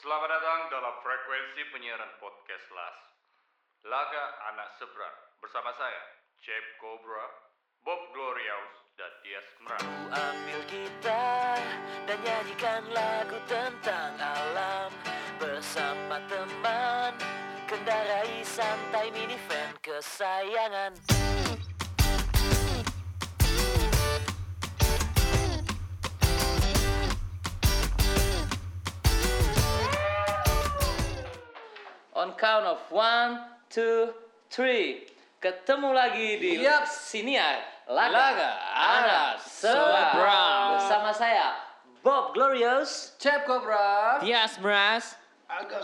Selamat datang dalam frekuensi penyiaran podcast Las. Laga Anak Seberang bersama saya, Cep Cobra, Bob Glorious, dan Dias Merak. Ku ambil gitar dan nyanyikan lagu tentang alam bersama teman kendarai santai minivan kesayangan On count of one, two, three Ketemu lagi di Yap. Siniar Laga, Laga Anak Anak Seberang. Seberang. Bersama saya Bob Glorious Cep Cobra. Tias Meras. Ada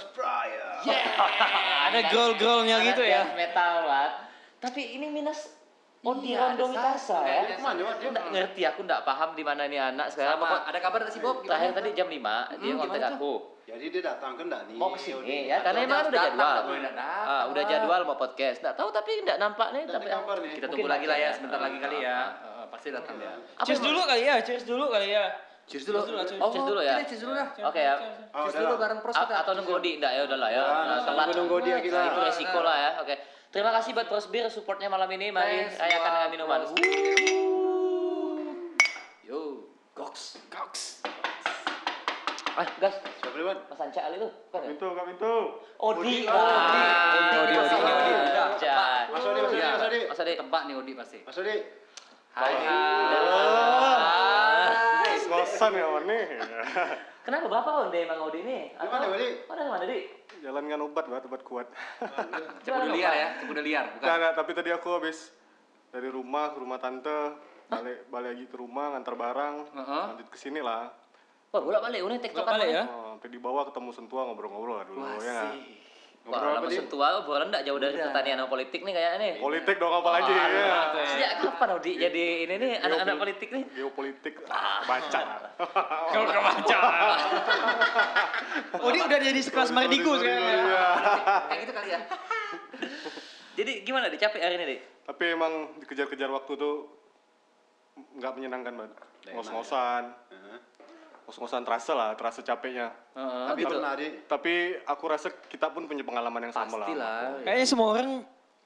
Ada gol-golnya gitu ya. dance metal banget. Tapi ini minus Ondi Iya, ada Rondong salah. Kasa ya. Iya, ada salah. Dia Aku nggak nggak- ngerti, aku nggak paham di mana nih anak sekarang. Sama, Pokok- ada kabar nggak sih, Bob? Gimana, Terakhir Bob? tadi jam 5 dia Hmm, kontak gimana tuh? aku. Jadi dia datang kan enggak nih? Mau kesini ya, Dia- karena emang Atau dia udah harus datang, jadwal. tak boleh nggak datang. Ah, udah jadwal mau podcast. Nggak tahu tapi nggak nampak nih. Nanti Tapi kabar nih. Kita tunggu lagi lah ya, sebentar lagi kali ya. Eh, pasti datang ya. Ah, Apa Cheers yang- dulu kali ya, cheers dulu kali ya. Cheers dulu. Oh, cheers dulu ya. kita Cheers dulu dah. Oke ya. Oh, Cheers udah dulu lah. bareng pros A- kita. atau nunggu di enggak ya udahlah ya. Nah, Nah, nunggu- telat. nunggu dia kita. Nah, itu resiko lah ya. Oke. Terima kasih buat Pros Beer supportnya malam ini. Mari Thanks, rayakan dengan Bang minuman. Pros Yo, goks. Ah, gas. Siapa nih, Wan? Mas Anca Ali tuh. bukan ya? Pintu, kak pintu. Odi. Odi, Odi. Ah, Odi, Odi, Mas Odi, Odi, Odi. Anca. Mas Odi, Mas Odi, Iya. Mas Odi. Mas Adi. Tebak nih Odi pasti. Mas Odi. Hai. Ah. Hai. Bosan ya Wan nih. Ah. Kenapa Bapak Onde emang Odi ini? Di mana, Odi? Oh, dari mana, Di? Jalan kan obat buat obat kuat. Nah. Cepu udah liar ya, cepu udah liar, bukan. Nah, nah, tapi tadi aku habis dari rumah ke rumah tante, balik balik lagi ke rumah ngantar barang, Heeh. lanjut ke sini lah. Wah, bolak-balik. Ini TikTok Balik ya. Oh, sampai di bawah ketemu sentua ngobrol-ngobrol lah dulu ya. nggak? Asik. Wah, lama sentua, obrolan enggak jauh dari Udah. pertanian sama politik nih kayaknya nih. Politik dong apalagi ya. Iya. Sejak kapan Odi jadi ini nih anak-anak politik nih? Ah. Geopolitik baca. Kalau kebaca. Odi udah jadi sekelas Mardigu sekarang. ya. Iya. Kayak gitu kali ya. Jadi gimana Di? Capek hari ini, Di? Tapi emang dikejar-kejar waktu tuh nggak menyenangkan banget. Ngos-ngosan, Heeh. ngos-ngosan terasa lah, terasa capeknya. Tapi gitu. pernah di Tapi aku rasa kita pun punya pengalaman yang sama lah. Pastilah. Kayaknya semua orang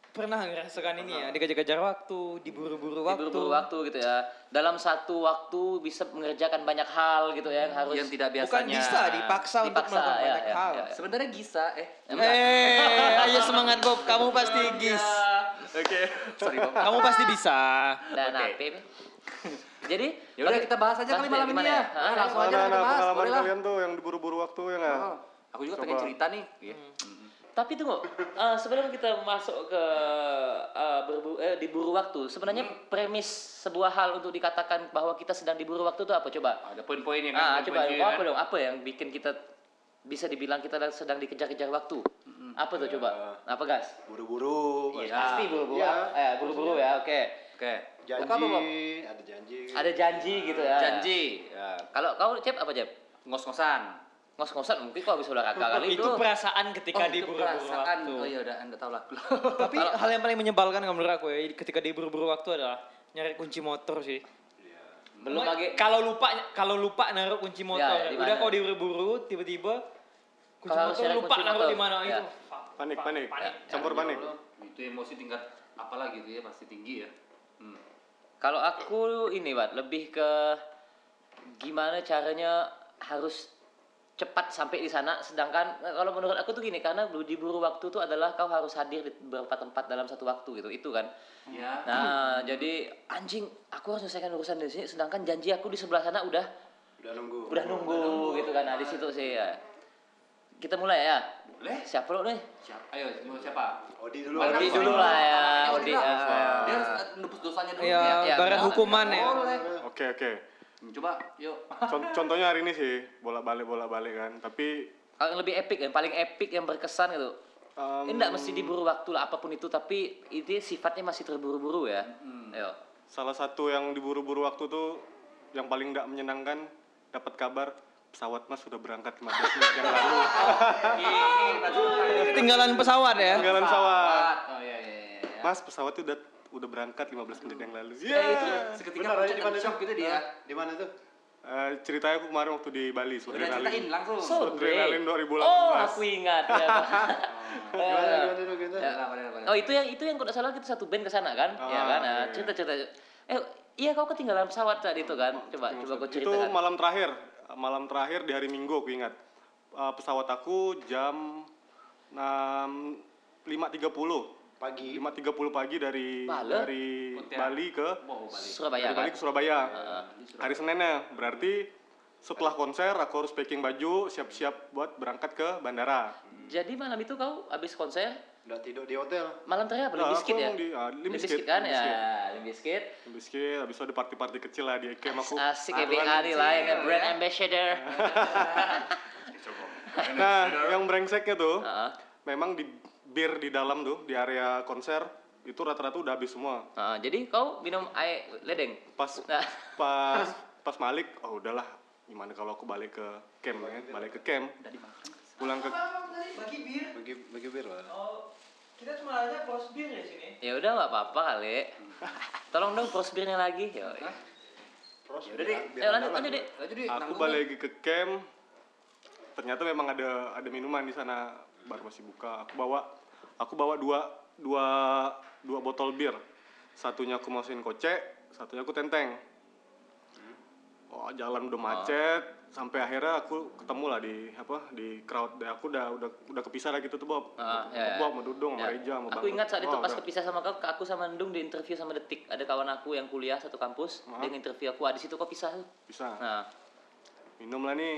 pernah ngerasakan ini ya, dikejar-kejar waktu, diburu-buru waktu. Diburu-buru waktu gitu ya. Dalam satu waktu bisa mengerjakan banyak hal gitu ya yang harus Yang tidak biasanya. Bukan bisa, dipaksa, untuk Dipaksa, melakukan ya, banyak ya, hal. ya. Sebenarnya Gisa eh. Eh, ayo semangat Bob, kamu pasti iya. gis. Oke. Sorry, Bob. Kamu pasti bisa. Nah, nah, Oke. Pip. Jadi, Ya udah oke. kita bahas aja kali Mas, malam ini gimana ya. Hah? Ah, langsung aja lah Nah, kita nah, bahas, pengalaman boleh lah. kalian tuh yang diburu-buru waktu ya nggak? Oh, Aku juga pengen Coba. cerita nih. Iya. Tapi tunggu, eh, sebelum kita masuk ke eh, berbu- eh, diburu waktu, sebenarnya Hmm. premis sebuah hal untuk dikatakan bahwa kita sedang diburu waktu itu apa? Coba. Ada poin-poin yang Ah, kan, coba poin-poinnya apa kan. dong? Apa yang bikin kita bisa dibilang kita sedang dikejar-kejar waktu? Apa tuh coba? Apa gas? buru-buru. Iya. Pasti buru-buru. Iya. Eh, buru-buru ya. Oke. Oke. Janji, Apa, Bob? ada janji. Ada janji gitu ya. Janji. Ya, Kalau kau cep apa cep? Ngos-ngosan. Ngos-ngosan mungkin kau habis olahraga kali Itu itu. iya. perasaan ketika itu diburu-buru perasaan. waktu. Oh ya udah, anda tahu lah. Tapi hal yang paling menyebalkan kalau menurut aku ya, ketika diburu-buru waktu adalah nyari kunci motor sih. Belum lagi Kalau lupa kalau lupa naruh kunci motor, ya, di udah mana? kau diburu-buru tiba-tiba kunci Kalau motor harus cari lupa kunci naruh motor. di mana Ya. itu. Panik, panik, Panik. campur panik. Itu emosi tingkat apalah gitu ya, pasti tinggi ya. Hmm. Kalau aku ini Wat, lebih ke gimana caranya harus cepat sampai di sana sedangkan eh, kalau menurut aku tuh gini karena diburu waktu tuh adalah kau harus hadir di beberapa tempat dalam satu waktu gitu itu kan Ya. nah jadi anjing aku harus selesaikan urusan di sini sedangkan janji aku di sebelah sana udah Udah nunggu. udah nunggu gitu kan nah di situ sih ya. kita mulai ya Boleh. siapa lo nih Siapa? Ayo, mau siapa? Odi dulu. Odi Odi Odi dulu lah ya Ini Odi lah. ya. Dia harus eh, nebus dosanya dulu. Ya, ya. ya, barat benar. Oh, hukuman ya. Boleh. Oke, oke. Hmm, Coba, yuk. Con- Contohnya hari ini sih bolak-balik, bolak-balik kan. Tapi Kalau yang lebih epic yang paling epic yang berkesan gitu em, Ini enggak mesti diburu waktu lah apapun itu tapi ini sifatnya masih terburu-buru ya. Hmm. Ayo. salah satu yang diburu-buru waktu tuh yang paling nggak menyenangkan dapat kabar pesawat mas sudah berangkat 15 menit yang lalu. Ini berarti Ketinggalan pesawat ya. Tinggalan sawah. Oh iya iya iya. iya. Mas pesawatnya udah udah berangkat 15 menit yang lalu. Eh, itu Iya. seketika pucat dan shock gitu dia. Di mana tuh? Eh, ceritanya aku kemarin waktu di Bali, Udah ceritain Sodrenalin. langsung. Sodrenalin 2018. Oh, aku ingat. Ya, Pak. Gimana, gimana, gimana, gimana? Padahal, padahal, padahal. oh, itu yang itu yang kalau nggak salah kita satu band ke sana kan? ya Ah, kan? Nah, iya, iya. cerita-cerita. Eh, iya kau ketinggalan pesawat saat itu kan? Coba coba kau Itu ceritakan. malam terakhir, malam terakhir di hari Minggu aku ingat. Eh, pesawat aku jam 6, 5.30. Pagi. 5.30 pagi dari Bale? dari Pontianak. Bali ke Wow, balik. Surabaya dari Bali kan? ke Surabaya. Hari Seninnya berarti setelah konser aku harus packing baju, siap-siap buat berangkat ke bandara. Jadi malam itu kau habis konser Udah tidur di hotel. malam terakhir apa? Limp Nah, aku Bizkit ya? emang di- ah, Limp Limp Bizkit, Bizkit kan? Limp Ya, Bizkit. Limp Bizkit. Habis itu habis itu ada party-party kecil lah di Ekem aku. Asik kebetulan- EBA nih lah, ya, kan? brand ambassador. Nah, yang brengseknya tuh, Heeh. memang di bir di dalam tuh di area konser itu rata-rata udah habis semua. Nah, jadi kau minum air ledeng. Pas Nah. pas pas Malik, oh udahlah gimana kalau aku balik ke camp ya, balik ke camp. Pulang ke tadi bagi bir. Bagi bagi bir lah. Oh, kita cuma adanya close bir ya sini. Ya udah nggak apa-apa kali. Tolong dong prosbirnya lagi. Yo. Pros. Yaudah, Dik. Ayo lanjut lanjut deh. Lanjut Dik. aku Nanggung, balik lagi ke camp. Ternyata memang ada ada minuman di sana bar masih buka. Aku bawa aku bawa dua dua dua botol bir. Satunya aku masukin kocek, satunya aku tenteng. Oh, jalan udah macet sampai akhirnya aku ketemu lah di apa di crowd Dan aku udah udah udah kepisah lah gitu tuh Bob. Ah, ya, Sama ya. Bob, sama Dudung, sama Ya. Reja, sama Aku Bang. ingat saat itu Oh, pas udah. kepisah sama kau, aku sama Endung di interview sama Detik. Ada kawan aku yang kuliah satu kampus, dia nginterview aku. Ah, di situ kok pisah tuh. Pisah. Nah, Minum lah nih.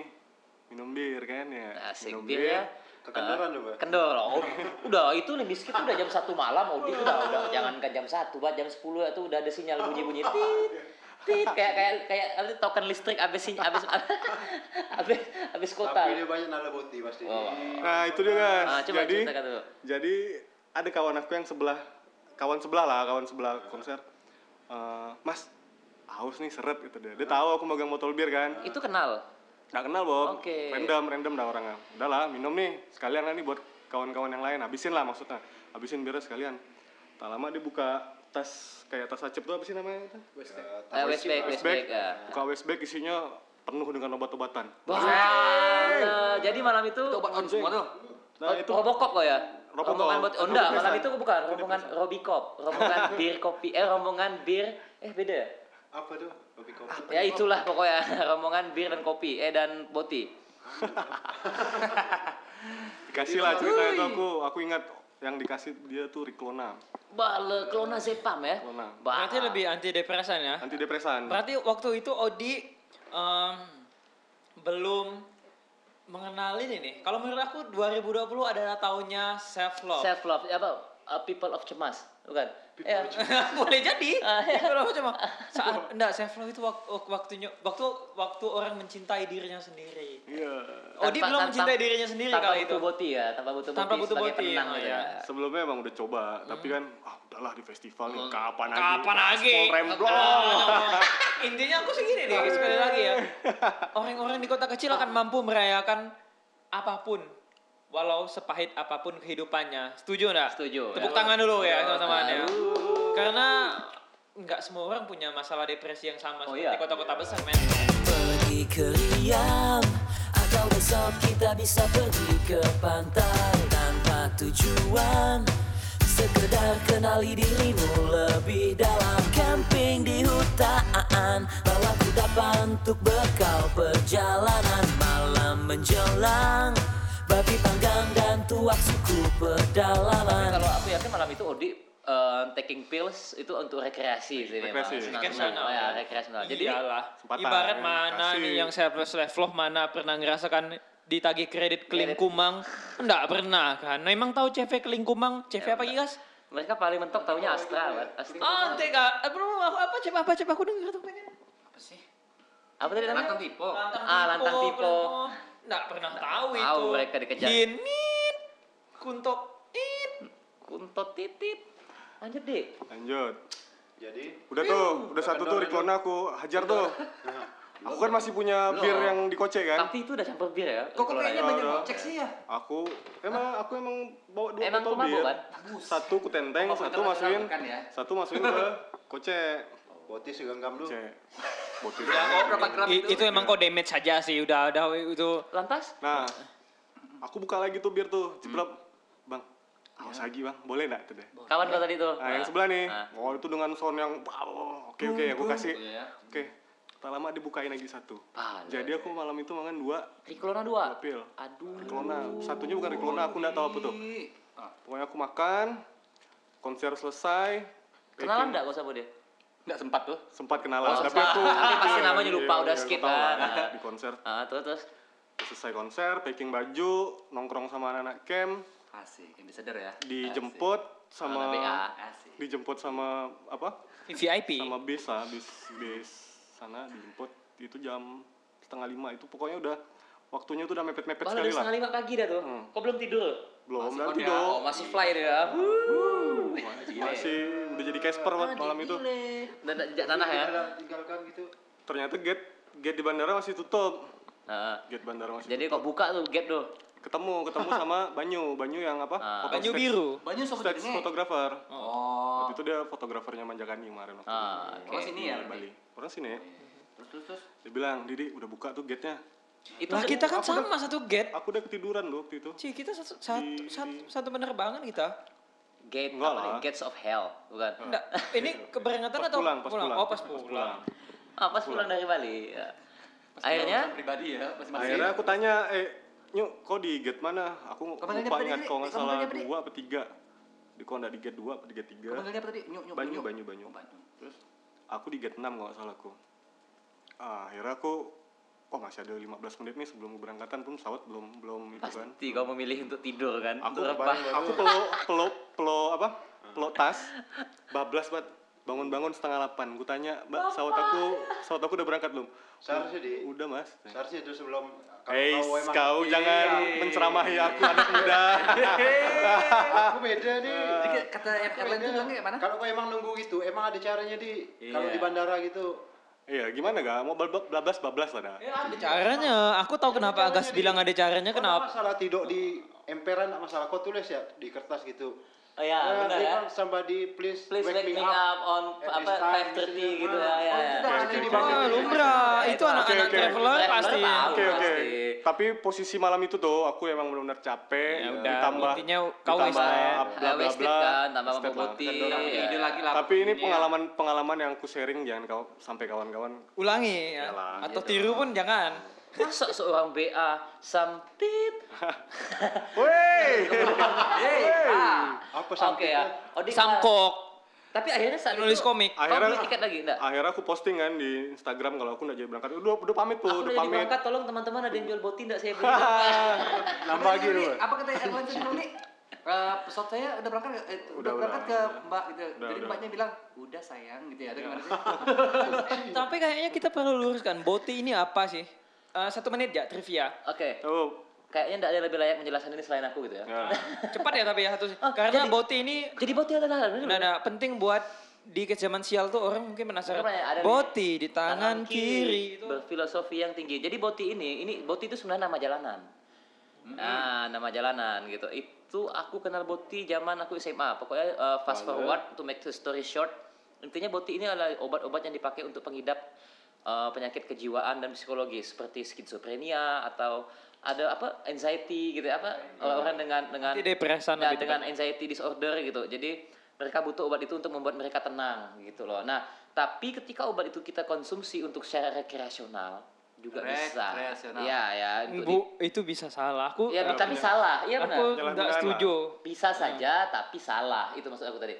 Minum bir kan ya. asik Minum bir ya. Kekendoran lu, Pak. Kendor, oh. udah itu lebih sedikit udah jam satu malam, Audi udah udah jangankan jam satu, bah jam sepuluh itu udah ada sinyal bunyi-bunyi tit tit kayak kayak kayak apa sih, token listrik abis sin- abis abis abis kota. Tapi dia banyak nala boti pasti. Oh. Nah, itu dia guys. Ah, coba Jadi ceritakan dulu. Jadi ada kawan aku yang sebelah kawan sebelah lah, kawan sebelah konser. Eh, mas, haus nih seret gitu dia. Dia tahu aku megang botol bir kan. Itu kenal. Gak kenal, Bob. Oke. Random, random dah orangnya. Udahlah, minum nih. Sekalian lah nih buat kawan-kawan yang lain. Habisin lah maksudnya. Habisin birnya sekalian. Tak lama dia buka tas kayak tas acep tuh apa sih namanya itu? Eh, Westback, Westback. ya. Buka waste bag isinya penuh dengan obat-obatan. Wah, eh, jadi malam itu, Itu obat on semua tuh. Nah, Ro- itu Robocop kok ya? Robocop. Rombongan buat oh, enggak, malam Kepesan. itu bukan rombongan Robicop, rombongan bir kopi eh rombongan bir eh beda. ya? Apa tuh? Kopi kopi. Ya itulah pokoknya rombongan bir dan kopi eh dan boti. dikasih lah ceritanya itu aku aku ingat yang dikasih dia tuh Riklona. Bale klona zepam ya. Klona. Bah. Berarti lebih anti depresan ya. Antidepresan. Berarti waktu itu Odi em, belum mengenali ini nih. Kalau menurut aku 2020 adalah tahunnya self love. self love apa uh, people of cemas, bukan? Eh, Boleh jadi. Ah, iya. Kalau aku cuma saat enggak self love itu wak- wak- waktunya waktu waktu orang mencintai dirinya sendiri. Iya. tanpa- Odi belum tanpa- mencintai dirinya sendiri tanpa kali butuh itu. boti ya, tanpa butuh Tanpa boti butuh sebagai boti, penenang oh, gitu ya. ya. Sebelumnya emang udah coba, tapi kan ah udahlah di festival nih kapan lagi? Kapan lagi? Gaspol remblong. Ah, Intinya aku sih gini deh, sekali lagi ya. Orang-orang di kota kecil akan mampu merayakan apapun. Walau sepahit apapun kehidupannya. Setuju enggak? Setuju, Tepuk ya. tangan dulu ya sama-sama ya. Karena nggak semua orang punya masalah depresi yang sama Oh, seperti iya. kota-kota besar, men. pergi ke Riau Atau besok kita bisa pergi ke pantai Tanpa tujuan Sekedar kenali dirimu lebih dalam Camping di hutan Bawa kudapan untuk bekal perjalanan Malam menjelang Babi panggang dan tuak suku pedalaman Kalau aku yakin malam itu Odi eh, taking pills itu untuk rekreasi sih memang. Rekreasi. Senang-senang, Rekreasional. ya, rekreasional. Jadi Iyalah. kesempatan, Iya ya. Ibarat mana kasih. nih yang saya plus level mana pernah ngerasakan ditagih kredit ke Lingkumang? Enggak pernah kan. Emang tahu CV ke Lingkumang? Ya, CV apa Gigas? mereka paling mentok taunya Astra, Wan. Astra. Oh, tega. Eh, belum apa apa coba apa coba aku dengar tuh pengen. Apa sih? Apa tadi Lantang namanya? tipe. Ah, lantang tipo. Enggak pernah tahu itu. tahu mereka dikejar. Hinit. Kunto. It. Kunto titit. Lanjut, Dik. Lanjut. Jadi Udah tuh, udah satu tuh Riklona aku hajar tuh. Aku kan masih punya bir yang dikocek kan. Tapi itu udah campur bir ya. Kok kok Kalau kayaknya nanya. banyak Ada. ngecek sih ya? Aku emang aku emang bawa dua Emang botol kau mabuk, bir. kan? Satu ku tenteng, Oh, satu internasional masukin, bukan ya? satu masukin ke kocek. boti segenggam lu. Kocek. botol. berapa gram I- itu emang kok damage saja sih udah udah itu Lantas? Nah, aku buka lagi tuh bir tuh, jeblok. Bang, awas lagi bang, boleh nggak tuh deh? Kawan kau tadi tuh. Nah, yang sebelah nih, Ah. oh itu dengan sound yang wow, oke oke, aku kasih, Gitu ya. oke. Tak lama dibukain lagi satu. iya. Pala. iya. Jadi aku malam itu makan dua Ricolona 2. pil. Aduh. Ricolona, satunya bukan Ricolona, aku nggak tahu apa tuh. Nah, Ih, ah, Pokoknya aku makan, konser selesai. Kenalan packing. enggak kau sama dia? nggak sempat tuh. Sempat kenalan, Oh, tapi sempat. aku Tapi pasti iya, namanya lupa, iya, udah iya, skip aku tahu kan. lah, Ah. Di konser, Ah, terus terus. selesai konser, packing baju, nongkrong sama anak-anak camp, Asik, yang sadar ya. Oh. dijemput Anak sama BA. Iya, Asik. dijemput sama apa? VIP. Sama bis lah, bis bis sana dijemput itu jam setengah lima itu pokoknya udah waktunya itu udah mepet-mepet Wah, sekali udah lah. setengah lima pagi dah tuh. Hmm. Kok belum tidur? Belum Masih on nanti ya. dong. Oh, masih fly dia. Masih udah jadi Casper buat malam itu. Dan jejak tanah ya. tinggalkan gitu. Ternyata gate gate di bandara masih tutup. Nah, Gate bandara masih jadi kau buka tuh gap tuh. tutup. ketemu ketemu sama Banyu, Banyu yang apa? Ah. Foto Baju stage- biru. Banyak sobat Stage ini. fotografer. Oh. Waktu itu dia fotografernya Manjakani kemarin waktu Ah, di- oke. Orang sini ya, di Bali. Orang sini ya. Terus terus terus. Dia bilang, "Didi, udah buka tuh gate-nya." Itu Lah kita kan sama satu gate. Aku udah ketiduran loh waktu itu. Ci, kita satu satu satu, satu penerbangan kita. gate Enggak apa nih? lah. Gates of Hell, bukan? Enggak, ini keberangkatan Pas atau pulang, pas pulang. Oh, pas pulang. Ah, pas pulang dari Bali. ya. Urusan Akhirnya pribadi ya, masing-masing. Akhirnya aku tanya, eh Nyuk, kau di gate mana? Aku Kau panggilnya lupa apa, ingat Didi? kau nggak Kau salah panggilnya apa, Didi? dua apa tiga. Di kau nggak di gate dua apa tiga tiga. Kau manggilnya apa tadi? Nyuk nyuk Banyu, nyuk. banyu, banyu. Oh, banyu. Terus Aku di gate enam kalau nggak salah aku. Ah, akhirnya aku, oh masih ada 15 menit nih sebelum keberangkatan pun pesawat belum belum itu kan. pasti kau memilih untuk tidur kan? Aku Untuk aku, rebah. peluk peluk peluk apa? Peluk tas, bablas banget bangun-bangun setengah delapan. Ku tanya, mbak, pesawat aku, pesawat aku udah berangkat belum? Seharusnya di Udah mas. seharusnya itu sebelum Hei, tahu kau, emang- jangan menceramahi aku anak muda. Iya, aku beda nih. Jadi kata air- airline itu bilangnya mana? Kalau kau emang nunggu gitu, emang ada caranya di kalau di bandara gitu. Iya, gimana gak? Mau bablas bablas bablas lah dah. Ada caranya. Aku tahu kenapa Agas bilang ada caranya Kau nggak kenapa. masalah tidur di emperan nggak masalah kau tulis ya di kertas gitu. Oh ya, Nah, benar dia ya. bilang, somebody please, Please wake me up on at apa this time," 5.30 gitu Ah, ya. ya, ya. sudah, nanti oke, dibangun. Wah, lumrah. Itu Itu oke, anak-anak oke. traveler Traveler pasti. tahu. Oke oke. Pasti. Tapi posisi malam itu tuh aku emang benar-benar capek. Ya udah, ditambah intinya kau ditambah wasted. bla Ah, bla wasted bla. kan, tambah wasted mampu lah. putih. Kan orang iya. punya ya. ide lagi lah. Tapi ini Iya. pengalaman pengalaman yang aku sharing jangan kau sampai kawan-kawan. Ulangi ya. Yalah, Atau tiru pun jangan. Masa seorang BA sampit? Woi. Hey, ah. Apa Oke sampitnya? ya. Oh, di- Samkok. Tapi akhirnya saat Penulis itu, komik. Kau Akhirnya- beli tiket lagi enggak? Akhirnya aku posting kan di Instagram kalau aku nggak jadi berangkat. Udah udah pamit tuh, Aku udah udah jadi pamit. berangkat, tolong teman-teman ada yang jual boti enggak saya beli. Nambah lagi gitu. lu. Ini, Apa kata airline tadi bilang nih? Eh, pesawat saya udah berangkat ke- eh, Udah, udah, berangkat udah, ke Mbak gitu. Udah, Jadi udah. Mbaknya bilang, "Udah sayang." gitu ya. Ada gimana sih? Tapi kayaknya kita perlu luruskan. Boti ini apa sih? Eh, satu menit ya trivia. Oke, Oh, kayaknya enggak ada yang lebih layak menjelaskan ini selain aku gitu ya. ya. Cepat ya tapi ya satu. Ah, Karena jadi- boti ini Jadi boti adalah Nah, nah, penting buat di zaman sial tuh orang mungkin penasaran. Kenapa ya? Ada di- Boti di tangan kiri. itu. berfilosofi yang tinggi. Jadi boti ini, ini boti itu sebenarnya nama jalanan. Hmm. Nah, nama jalanan gitu. Itu aku kenal boti zaman aku SMA. Pokoknya uh, fast forward to make the story short, intinya boti ini adalah obat-obat yang dipakai untuk pengidap uh, penyakit kejiwaan dan psikologi seperti skizofrenia atau ada apa anxiety gitu ya, apa orang-orang dengan dengan Antidepresan ya, lebih tepat. dengan dengan anxiety disorder gitu. Jadi mereka butuh obat itu untuk membuat mereka tenang gitu loh. Nah, tapi ketika obat itu kita konsumsi untuk secara rekreasional juga bisa. Rekreasional. Iya, ya. untuk Bu, itu bisa salah. Aku di- ya, tapi salah. Iya benar. Iya. aku Jalan enggak benar, setuju. Bisa saja tapi salah. Itu maksud aku tadi.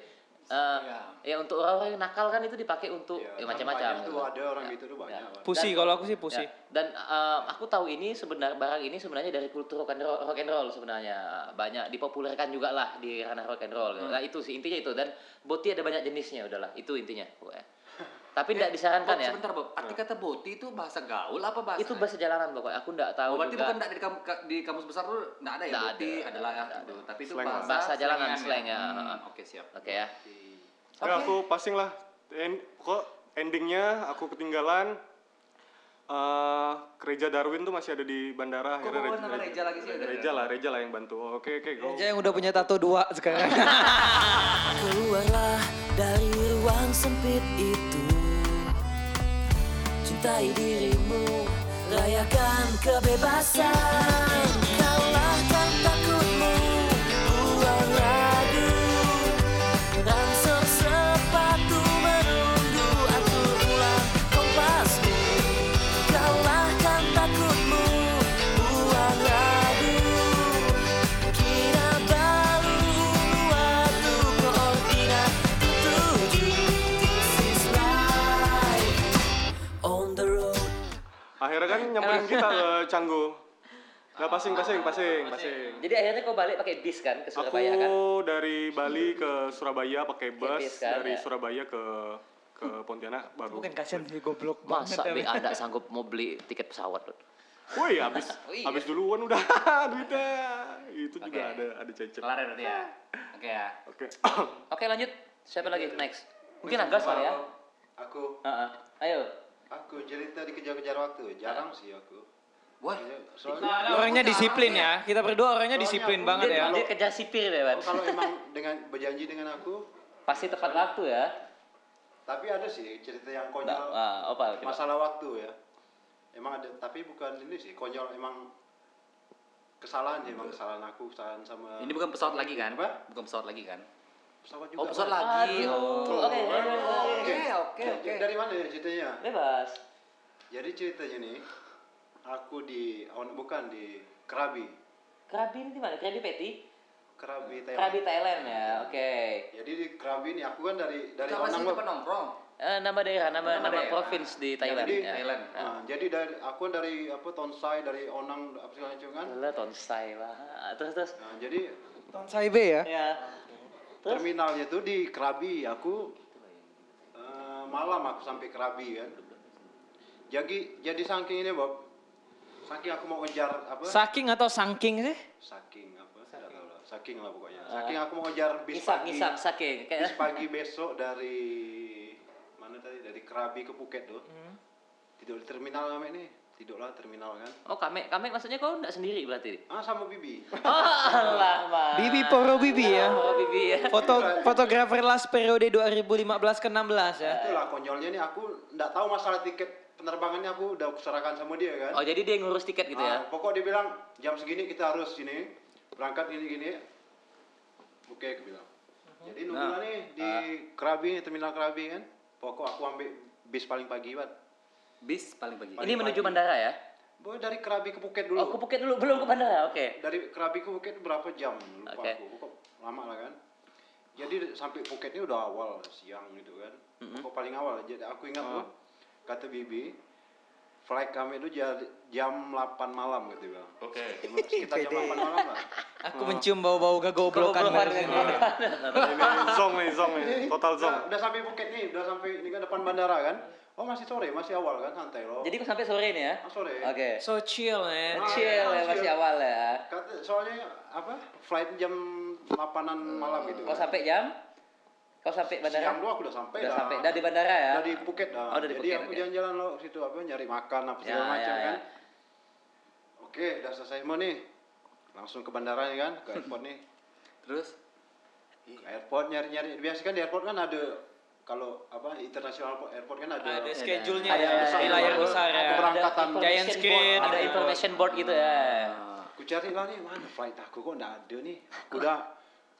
Eh, ya untuk orang-orang yang nakal kan itu dipakai untuk ya, macam-macam. Banyak gitu. tuh ada orang Ya. gitu tuh banyak. Pak. Pusi Dan- kalau aku sih pusi. Ya, Dan eh, aku tahu ini sebenarnya barang ini sebenarnya dari kultur rock and roll, rock and roll sebenarnya banyak dipopulerkan juga lah di ranah rock and roll. gitu. Hmm. Nah itu sih intinya itu dan boti ada banyak jenisnya udahlah itu intinya pokoknya. Tapi tidak Eh, Bob, disarankan ya. Sebentar, Bob. Arti kata boti itu bahasa gaul apa bahasa? Itu bahasa jalanan pokoknya. Aku tidak tahu Oh, berarti juga. bukan enggak di, kam, ka- di kamus besar tuh enggak ada ya Nggak boti ada, adalah ya nggak gitu. Tapi itu Slang. bahasa Bahasa jalanan, slangan slang, ya. Hmm, Oke, siap. Oke ya. Ya, aku passing lah. En, kok endingnya aku ketinggalan. Eh, gereja Darwin tuh masih ada di bandara. Kok bawa nama Reja lagi sih? Reja, lah, Reja lah yang bantu. Oke, oke, go. Aja yang udah punya tato dua sekarang. Keluarlah dari ruang sempit itu cintai dirimu Rayakan kebebasan Kalahkan takutmu Buang ragu Rangsang sepatu menunggu Aku ulang kompasmu Kalahkan takutmu Buang ragu On the road. Akhirnya kan nyamperin kita ke Canggu. Nah, pasing, pasing, pasing, pasing. Jadi akhirnya kau balik pakai bis kan ke Aku Surabaya kan? dari Bali ke Surabaya pakai bus, bis kan, ya. dari Surabaya ke ke Pontianak baru. Bukan kasihan sih goblok Masa banget. ya. BA nggak sanggup mau beli tiket pesawat loh. Woi, habis Wih. habis duluan udah duitnya. Itu juga Oke. ada ada cecep. Kelar ya berarti ya. Oke ya. Oke. Oke lanjut, siapa lagi next? Mungkin Angga soalnya ya. Aku Heeh. Ayo. aku jadi tadi kejar-kejar waktu. Ya. Jarang sih aku. Ya, Wah. Soalnya lah. Orangnya disiplin ya. Kita berdua orangnya disiplin banget Dia, ya. dia kerja sipir deh, Wan. Oh, kalau emang dengan berjanji dengan aku, Pasti tepat waktu ya. tapi ada sih cerita yang Nggak, konyol. ah, apa? coba. masalah waktu ya emang ada tapi bukan ini sih konyol emang kesalahan sih emang kesalahan aku kesalahan sama Ini bukan pesawat lagi kan? Apa? Bukan pesawat lagi kan? pesawat juga Oh pesawat Pak. lagi. Aduh, Oh. Oke, ayo, ayo, ayo. Oke oke Jadi, oke. dari mana ya ceritanya bebas. jadi ceritanya nih aku di oh, bukan di Krabi Kerabi ini di mana? Kerabi Peti? Krabi Kerabi Thailand Thailand ya. Oke. jadi di Krabi ini aku kan dari dari Kenapa sih Onang tempat nongkrong? Eh, nama daerah, nama Nama nama, daerah. provinsi di Thailand. Jadi, ya. Thailand. Nah, jadi dari aku kan dari apa Tonsai dari Onang apa segala macam kan ya. Lah tonsai lah. Ah, Terus terus. nah, jadi Tonsai B ya. Ya. Terus terminalnya tuh di Krabi aku eh, malam aku sampai Krabi kan jadi jadi saking ini Bob saking aku mau ngejar apa Saking atau sangking sih? saking apa tidak tahu lah saking lah pokoknya saking Ah. aku mau ngejar bis ngisap pagi ngisap saking bis kayak pagi besok dari mana tadi dari Krabi ke Phuket tuh Hmm. tidur di terminal kami nih tidurlah terminal kan Oh, kame kame maksudnya kau enggak sendiri berarti. ah sama Bibi Oh, Allah, Mas. Bibi Poro Bibi ya. Oh, Bibi ya. Foto fotografer last periode 2015 ke 16 ya. itulah konyolnya nih aku nggak tahu masalah tiket penerbangannya aku udah serahkan sama dia kan Oh, jadi dia ngurus tiket gitu ya. Ah, pokok dia bilang jam segini kita harus sini berangkat gini gini. Oke, aku bilang. Hmm. Jadi nunggu Nah, lah nih di ah. Krabi nih, terminal Krabi kan. Pokok aku ambil bis paling pagi banget. Bis paling pagi. Ini menuju bandara ya? Boy dari Krabi ke Phuket Oh, ke dulu. Phuket dulu, belum ke bandara. Oke. Dari Krabi ke Phuket berapa jam? Lupa Oke. aku. Pokok lama lah kan. Jadi sampai Phuket ini udah awal siang gitu kan. Pokok paling awal. Jadi aku ingat Oh. tuh kata Bibi flight kami itu jadi jam 8 malam gitu Bang. Oke. Sekitar jam 8 malam lah. Aku mencium bau-bau kegoblokan. barusan. Ini zong nih, zong nih. Total zong. Nah, Udah, udah sampai Phuket nih, udah sampai ini kan depan bandara kan. Oh masih sore, masih awal kan santai loh. Jadi kok sampai sore ini ya? Ah, sore. Oke. So chill Oh, iya, man. Chill ya, masih awal ya. Kata soalnya apa? Flight jam 8-an malam gitu. Kau Oh, sampai jam? Kau sampai Siang bandara? dua aku udah sampai Udah dah. sampai dari bandara ya? Udah di Phuket dah. Oh, dari Jadi Phuket, aku oke. jalan-jalan loh situ apa nyari makan apa Ya, segala ya, macam ya. kan. Oke, udah selesai mau nih. Langsung ke bandara nih kan, ke airport nih. Terus? Ke airport nyari-nyari. Biasa kan di airport kan ada kalau apa international airport kan ada, Ada schedule-nya Ada- ya, ada- di ada- layar ada- besar ya. ada Keberangkatan. information Giant board, screen Ada gitu. information board gitu ya. Iya. Aku cari lah nih mana flight aku kok nggak ada nih. Aku udah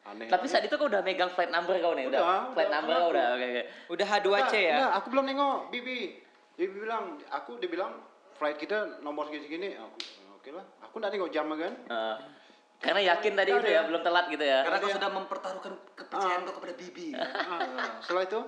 aneh. Tapi saat itu kau udah megang flight number kau nih, Udah, udah. Flight udah, number udah kau aku. udah. Oke, oke. Udah H2C ya. Nah, aku belum nengok Bibi. Bibi bilang, aku dia bilang flight kita nomor segini segini. Aku "Oh, oke lah. Aku nggak nengok jam kan. Heeh. Eh, Karena yakin tadi itu ya, belum telat gitu ya. Karena kau Eh, sudah mempertaruhkan kepercayaan kau kepada Bibi. Ah, Setelah itu,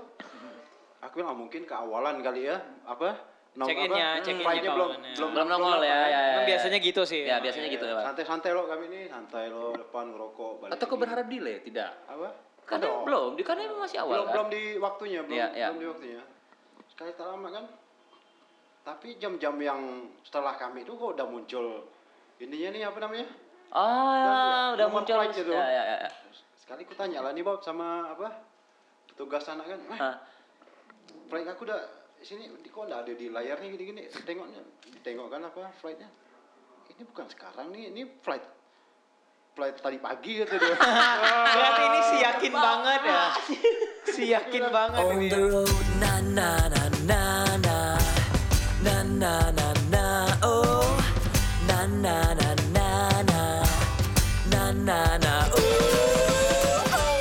aku bilang "Ah, mungkin keawalan kali ya apa? nom- apa, Check in-nya, hmm, check in-nya flightnya belum, ya, keawalannya. belum Belum nongol ya, ya, ya. Emang ya. biasanya gitu sih. Ya, biasanya gitu ya, Pak. Santai-santai lo kami ini, santai lo depan ngerokok balik. Atau kau lagi. berharap delay? Eh, Tidak. apa? Karena Dong. Kan belum, di karena emang masih awal belum kan. belum di waktunya belum Iya, iya. belum di waktunya sekali tak lama kan tapi jam-jam yang setelah kami itu kok udah muncul ininya nih apa namanya Ah, Dan udah nomor muncul. flight gitu. Ya, ya, ya. sekali ku tanya lah nih Bob sama apa petugas sana kan eh, Hah. flight aku udah sini di- kok nggak ada di layarnya gini-gini tengoknya tengok kan apa flightnya ini bukan sekarang nih ini flight flight tadi pagi gitu dia Berarti ini si yakin banget ya. Si yakin banget On ini. ya. the road, na na na na na na na na na oh na na na na na na na na oh, oh.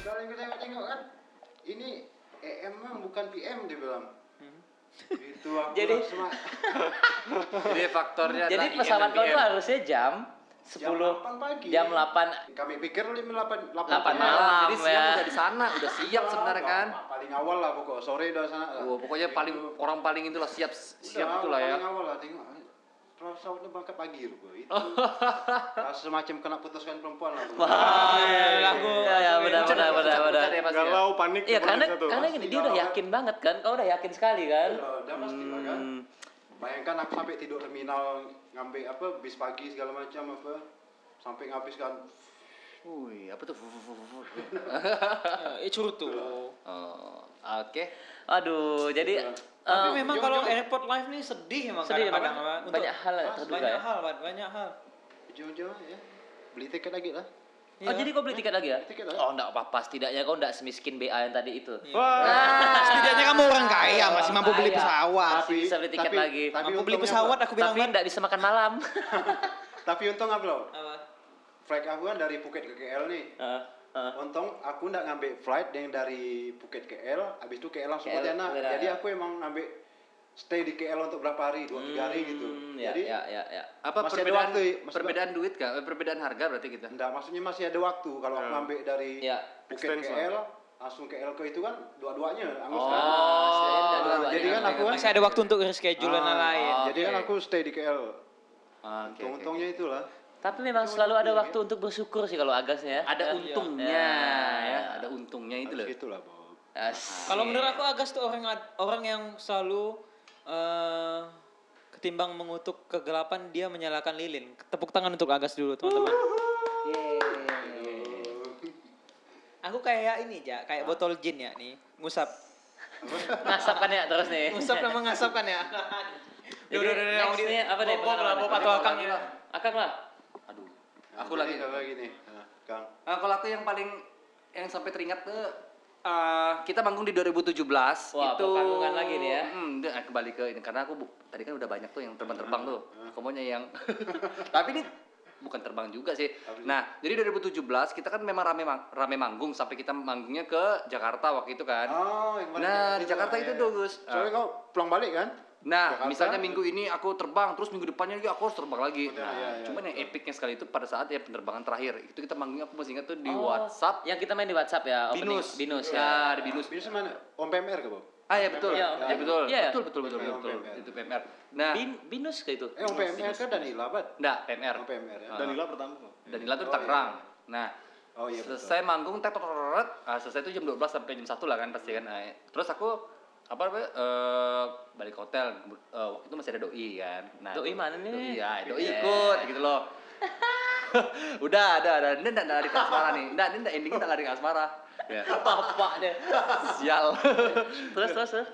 Sekarang gue tengok-tengok kan, ini EM mah bukan PM dia bilang. Itu aku Hmm. Jadi- langsung "Ah, mak- Jadi faktornya Jadi adalah E pesawat IN kau dan tuh PM. harusnya jam 10 jam 8 pagi. jam 8 Kami pikir lima delapan delapan Delapan pagi. malam. Jadi siang ya. udah di sana, udah siap sebenarnya kan. Paling awal lah pokok sore udah sana. lah. Wah, pokoknya paling Gitu. orang paling itulah siap siap Udah, itulah ya. Paling awal lah tengok. Pesawatnya berangkat pagi loh gue. Itu rasa semacam kena putuskan perempuan lah. gua. Wah, iya, aku iya. ya, ya, benar Pucat, benar benar pucat, benar. pucat ya pasti ya. Galau, Iya panik. pokoknya karena satu. karena gini dia udah yakin banget kan, kau udah yakin sekali kan. Eh, Udah udah pasti lah kan. Hmm. Bayangkan aku sampai tidur terminal ngambil apa bis pagi segala macam apa sampai nghabiskan Wih, apa tuh? Wuh, wuh, wuh, wuh. Eh curtu. Oh, oke. Aduh, jadi Iya. Tapi eh, memang kalau airport live nih sedih emang sedih kadang-kadang. memang. Untuk- banyak hal yang Ah, terduga. banyak ya. hal, Wan, banyak hal. ujung-ujung ya beli tiket lagi lah. Oh, jadi kau beli tiket lagi ya? Beli tiket lagi. Iya. Oh, enggak apa-apa, setidaknya kau enggak semiskin BA yang tadi itu. Wah, Setidaknya kamu orang kaya, masih mampu beli Kaya. Iya. pesawat. Masih bisa beli tiket lagi. Mampu beli untungnya pesawat apa? aku bilang, kan. Tapi Wan. enggak bisa makan malam. Tapi untung apa loh? Apa? Flight aku kan dari Phuket ke KL nih. Heeh, heeh. Untung aku nggak ngambil flight yang dari Phuket KL, habis itu KL langsung KL, ke Pontianak. Pontianak, Jadi ya. aku emang ngambil stay di KL untuk berapa hari, dua tiga hari gitu. Hmm, ya, Jadi ya, ya, ya. Apa Masih ada perbedaan waktu, ya? Masih- perbedaan duit kah? Eh, Perbedaan harga berarti kita. enggak, maksudnya masih ada waktu kalau aku ngambil dari Ya. Phuket Extend KL langsung KL ke itu kan dua-duanya anggus Oh, kan. setidaknya enggak Nah, dua-duanya. jadi kan aku kan Masih ada waktu untuk reschedule dan Ah, lain. Jadi kan aku stay di Ah, KL. Untung-untungnya itulah. Tapi memang selalu ada waktu untuk bersyukur sih kalau agasnya. Iya. Ada Ya. untungnya, ya. Ada untungnya itu loh. Habis itulah, Bob. Asik. Kalau menurut aku Agas tuh orang ad- orang yang selalu eh, ketimbang mengutuk kegelapan dia menyalakan lilin. Tepuk tangan untuk Agas dulu teman-teman. Aku kayak ini ja, kayak botol jin ya nih, ngusap. ngasap kan ya terus nih. Ngusap dan mengasapkan ya. Duh, duh, duh, duh, Jadi, aku di- next-nya apa deh, Bob, Bob lah, pengalaman? Bob atau Akang ya. Akang lah. Aduh. Nah, Aku jadi lagi. kalau gini, nah, Kang. Nah, kalau aku yang paling yang sampai teringat tuh eh, kita manggung di 2017 Wah, itu perpanggungan lagi nih ya. Hmm, udah, eh, kembali ke ini karena aku bu- tadi kan udah banyak tuh yang terbang-terbang tuh. Ah, Aku maunya yang tapi ini bukan terbang juga sih. Nah, jadi 2017 kita kan memang rame mang- rame manggung sampai kita manggungnya ke Jakarta waktu itu kan. Oh, yang balik Nah, ya, di Jakarta lah, itu ya. tuh, Gus. Soalnya Ah. kau pulang balik kan? Nah, Jakarta. misalnya minggu ini aku terbang, terus minggu depannya lagi aku harus terbang lagi. Betul, nah, iya, iya, cuman yang epicnya sekali itu pada saat ya penerbangan terakhir. Itu kita manggungnya aku masih ingat tuh di Oh, WhatsApp Yang kita main di WhatsApp ya, opening. Binus. Binus Ya, ya. di Binus. Binus mana? Om PMR ke, Bob? Ah ya betul. Iya, Ya, Om PMR. betul. Iya, ya. Betul betul betul PMR, betul. PMR. Itu PMR. Nah, Bin, binus kayak itu. Eh, Om PMR kan Danila, Bat? enggak PMR. Om PMR ya? Danila pertama. Danila tuh Oh, Tangerang. iya. Nah, Oh iya, betul. selesai manggung tek tek, tek, tek, ah, selesai itu jam 12 sampai jam 1 lah kan pasti kan. Nah, terus aku apa namanya eh, balik ke hotel Eh, waktu itu masih ada doi kan. Nah, Doi mana nih? Iya. Doi, ya, doi ikut gitu loh. udah, ada, ada. Ini enggak lari ke asmara nih. Enggak, ini enggak endingnya enggak lari ke asmara. Ya. Bapak deh. Sial. Terus terus terus.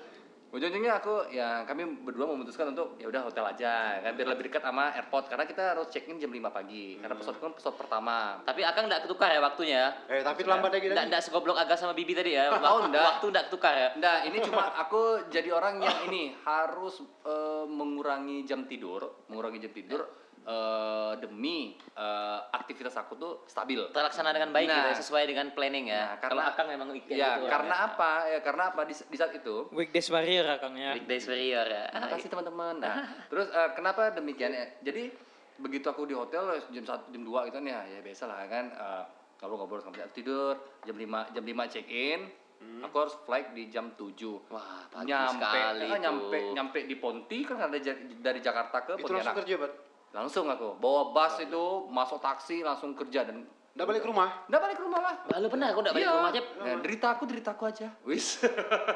Ujung-ujungnya aku ya kami berdua memutuskan untuk ya udah hotel aja kan biar lebih dekat sama airport karena kita harus check in jam 5 pagi karena pesawat kan pesawat pertama. Hmm. Tapi Akang enggak ketukar ya waktunya ya. Eh, tapi terlambat lagi Enggak tadi. enggak segoblok Agas sama Bibi tadi ya. Oh, Waktu, nggak. waktu enggak ketukar ya. Nah, ini cuma aku jadi orang yang ini harus eh, mengurangi jam tidur, mengurangi jam tidur eh, demi eh, aktivitas aku tuh stabil. Terlaksana dengan baik Nah. gitu ya, sesuai dengan planning ya. Nah, Kalau Akang memang kayak ya, gitu karena orangnya. apa? Ya karena apa di, di saat itu Weekdays warrior Akang ya. Big Days Warrior ya. Terima kasih teman-teman. Nah, terus eh, kenapa demikian? ya? Jadi begitu aku di hotel eh, jam 1 jam 2 gitu kan ya, ya biasa lah kan eh, ngobrol-ngobrol sampai aku tidur jam 5 jam 5 check in. Aku harus flight di jam 7. Hmm. Wah, pagi nyampe sekali eh, nyampe tuh. nyampe di Ponti kan ada ja- dari Jakarta ke Itu Pontianak. langsung kerja, Bat? Langsung aku bawa bus itu masuk taksi langsung kerja dan Nggak balik ke rumah? Nggak balik ke rumah lah. Wah, lu pernah aku enggak balik Iya. ke rumah aja. Nah, derita aku derita aku aja. Wis.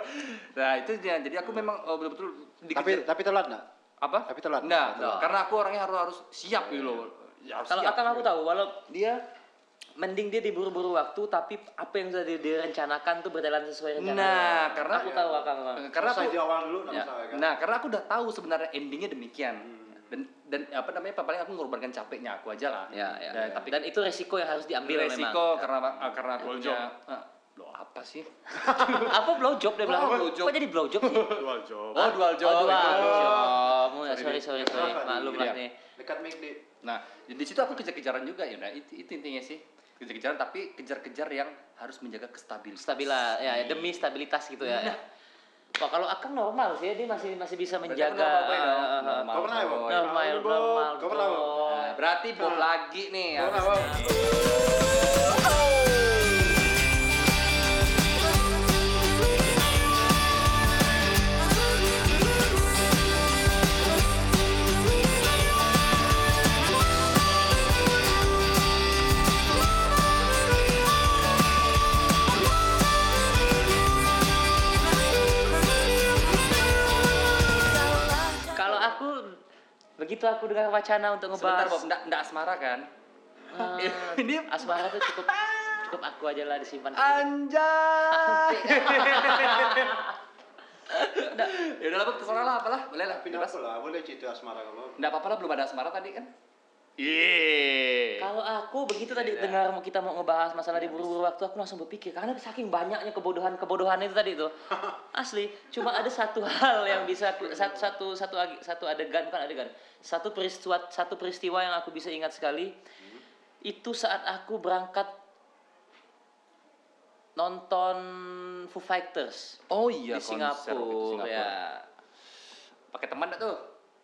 nah, itu dia. Jadi aku Hmm. memang eh, betul-betul Tapi dikejar- tapi telat nggak? apa? Tapi telat. Gitu. Nggak, Telat. karena aku orangnya harus harus siap gitu loh. Ya, harus Kalau siap. Akang aku tahu walau dia mending dia diburu-buru waktu tapi apa yang sudah di- direncanakan tuh berjalan sesuai rencana. Nah, karena aku tahu Akang. Bang. eh, karena aku Selesai di awal dulu, nggak Ya, masalah kan? Nah, karena aku udah tahu sebenarnya endingnya demikian. Dan dan apa namanya? Paling aku mengorbankan capeknya aku aja lah. Ya, ya. Dan, Dan, tapi itu resiko yang harus diambil resiko memang. karena eh, karena aku punya eh, blow up. apa sih? Apa blow job dia bilang? Oh, blow job. Kok jadi blow job sih? Dual job. Oh, dual job. Oh, dual itu. job. Oh, ya, sorry, sorry, sorry. Maklum lah Iya. nih. Dekat McD. Nah, di situ aku kejar-kejaran juga ya. Nah, itu, itu intinya sih. Kejar-kejaran tapi kejar-kejar yang harus menjaga kestabilan. Stabila, ya, ya, demi stabilitas gitu Nah. ya. ya. Wah, kalau Akang normal sih ya, dia masih masih bisa menjaga. normal boy Ah, ah, dong. ah. Normal Kau pernah ya, Bang? boy. Normal, Normal, Bob. normal. Kau pernah, Bob? Bob. Nah, berarti Bob lagi nih. Kau harus- pernah, Bang? Kalau aku begitu aku dengar wacana untuk Sebentar, ngebahas Bob. Nggak, nggak asmara kan? eh, Ini- asmara tuh cukup cukup aku aja lah disimpan. Anjay. ya udah lah, Bob. Terserah lah, apalah. Boleh lah. Tapi Bebas. apa lah, boleh cerita asmara kamu. Nggak apa-apa lah, belum ada asmara tadi kan? Kalau aku begitu tadi Iya. dengar mau- kita mau ngebahas masalah di buru-buru waktu, aku langsung berpikir karena saking banyaknya kebodohan-kebodohan itu tadi tuh. Asli, cuma ada satu hal yang bisa aku satu satu satu, ag- satu adegan bukan adegan. Satu peristiwa satu peristiwa yang aku bisa ingat sekali. Itu saat aku berangkat nonton Foo Fighters Oh iya, di Singapura. Ya. Pakai teman nggak tuh?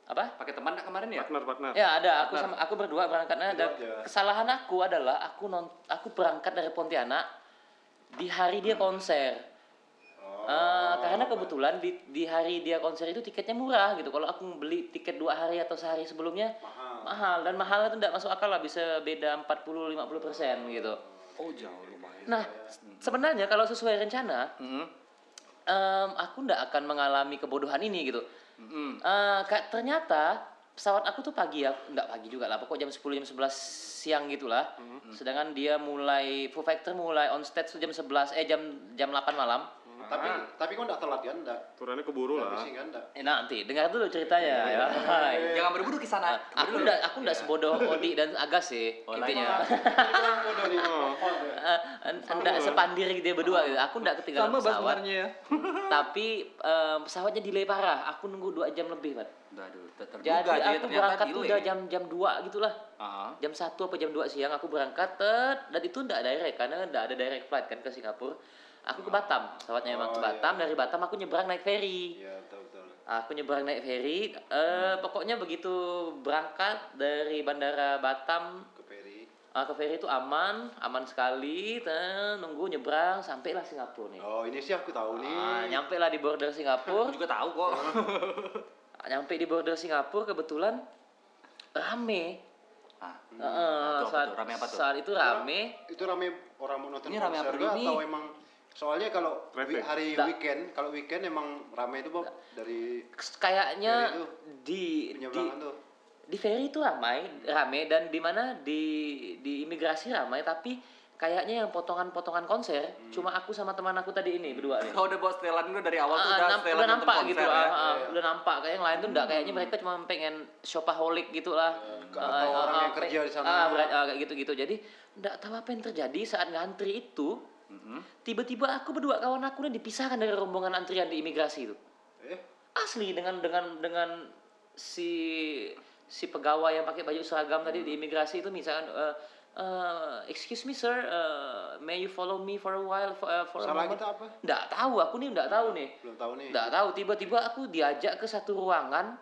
Apa? Pakai teman nggak kemarin ya? Partner, partner. Ya ada aku sama aku berdua berangkatnya ada Berdua aja. kesalahan aku adalah aku non aku berangkat dari Pontianak di hari Hmm. dia konser. Oh, Eh, karena kebetulan di, di hari dia konser itu tiketnya murah gitu. Kalau aku beli tiket dua hari atau sehari sebelumnya mahal, dan mahalnya itu tidak masuk akal lah bisa beda 40-50 persen gitu. Oh jauh lumayan. ya. Hmm. Nah sebenarnya kalau sesuai rencana em, aku tidak akan mengalami kebodohan ini gitu. Eh, Kak, ternyata pesawat aku tuh pagi ya, nggak pagi juga lah, pokok jam 10 jam 11 siang gitulah. Sedangkan dia mulai Foo Fighter mulai on stage tuh jam 11 eh jam jam 8 malam. Mm. Ah. Tapi tapi kau enggak telat kan enggak? Turannya keburu Enggak lah. bising kan enggak? Eh, nanti dengar dulu ceritanya ya. Iya, Eh, Jangan berburu ke sana. Iya. Oh, aku ndak aku ndak sebodoh Odi dan Agas sih Gitu. intinya. Orang bodoh nih. Oh. Enggak eh, sepandir gitu dia berdua gitu. Aku ndak ketinggalan Sama bahas pesawat. sebenarnya ya. Tapi em, pesawatnya delay parah. Aku nunggu 2 jam lebih, Pak. Aduh, ter- terduga Jadi dia aku ternyata berangkat tuh delay. udah jam jam 2 gitulah. Ah. jam 1 apa jam 2 siang aku berangkat tet, dan itu enggak direct karena enggak ada direct flight kan ke Singapura. Aku ke Batam, pesawatnya emang ke Oh, iya. Batam, dari Batam aku nyebrang naik ferry. Iya, Hmm. betul betul. Aku nyebrang naik ferry, eh, pokoknya begitu berangkat dari bandara Batam Ke Peri. eh, ke ferry itu aman, aman sekali, tet, nunggu nyebrang sampailah Singapura nih. Oh, ini sih aku tahu nih. Ah, nyampe lah di border Singapura. Ah, Aku juga tahu kok. nyampe di border Singapura kebetulan rame. Ah. Eh, eh, Itu apa saat, tuh? Rame apa tuh? saat itu rame. Itu rame orang mau nonton Ini rame konser apa kah ini? atau emang soalnya kalau Traffic. wi- hari Nggak. weekend, kalau weekend emang rame itu Bob dari kayaknya Ferry tuh, di di penyeberangan tuh. di ferry itu ramai rame dan di mana di di imigrasi ramai tapi kayaknya yang potongan-potongan konser cuma aku sama teman aku tadi ini berdua nih. Kau Hmm. Oh, udah bawa setelan dulu dari awal tuh Ah, udah nam- setelan udah nonton nampak konser gitu, ya. Hmm. ah, ah, udah nampak kayak yang lain tuh enggak kayaknya mereka cuma pengen shopaholic gitu lah. Iya, Atau Ah, ah, orang ah, yang kerja di sana. ah, ber- ah, kayak gitu-gitu. Jadi enggak tahu apa yang terjadi saat ngantri itu. Tiba-tiba aku berdua kawan aku nih dipisahkan dari rombongan antrian di imigrasi itu Eh, asli dengan dengan dengan si si pegawai yang pakai baju seragam tadi di imigrasi itu misalkan eh, eh, excuse me sir eh, may you follow me for a while for, eh, for a salah moment kita apa? nggak tahu aku nih nggak tahu nih Belum tahu nih. nggak tahu tiba-tiba aku diajak ke satu ruangan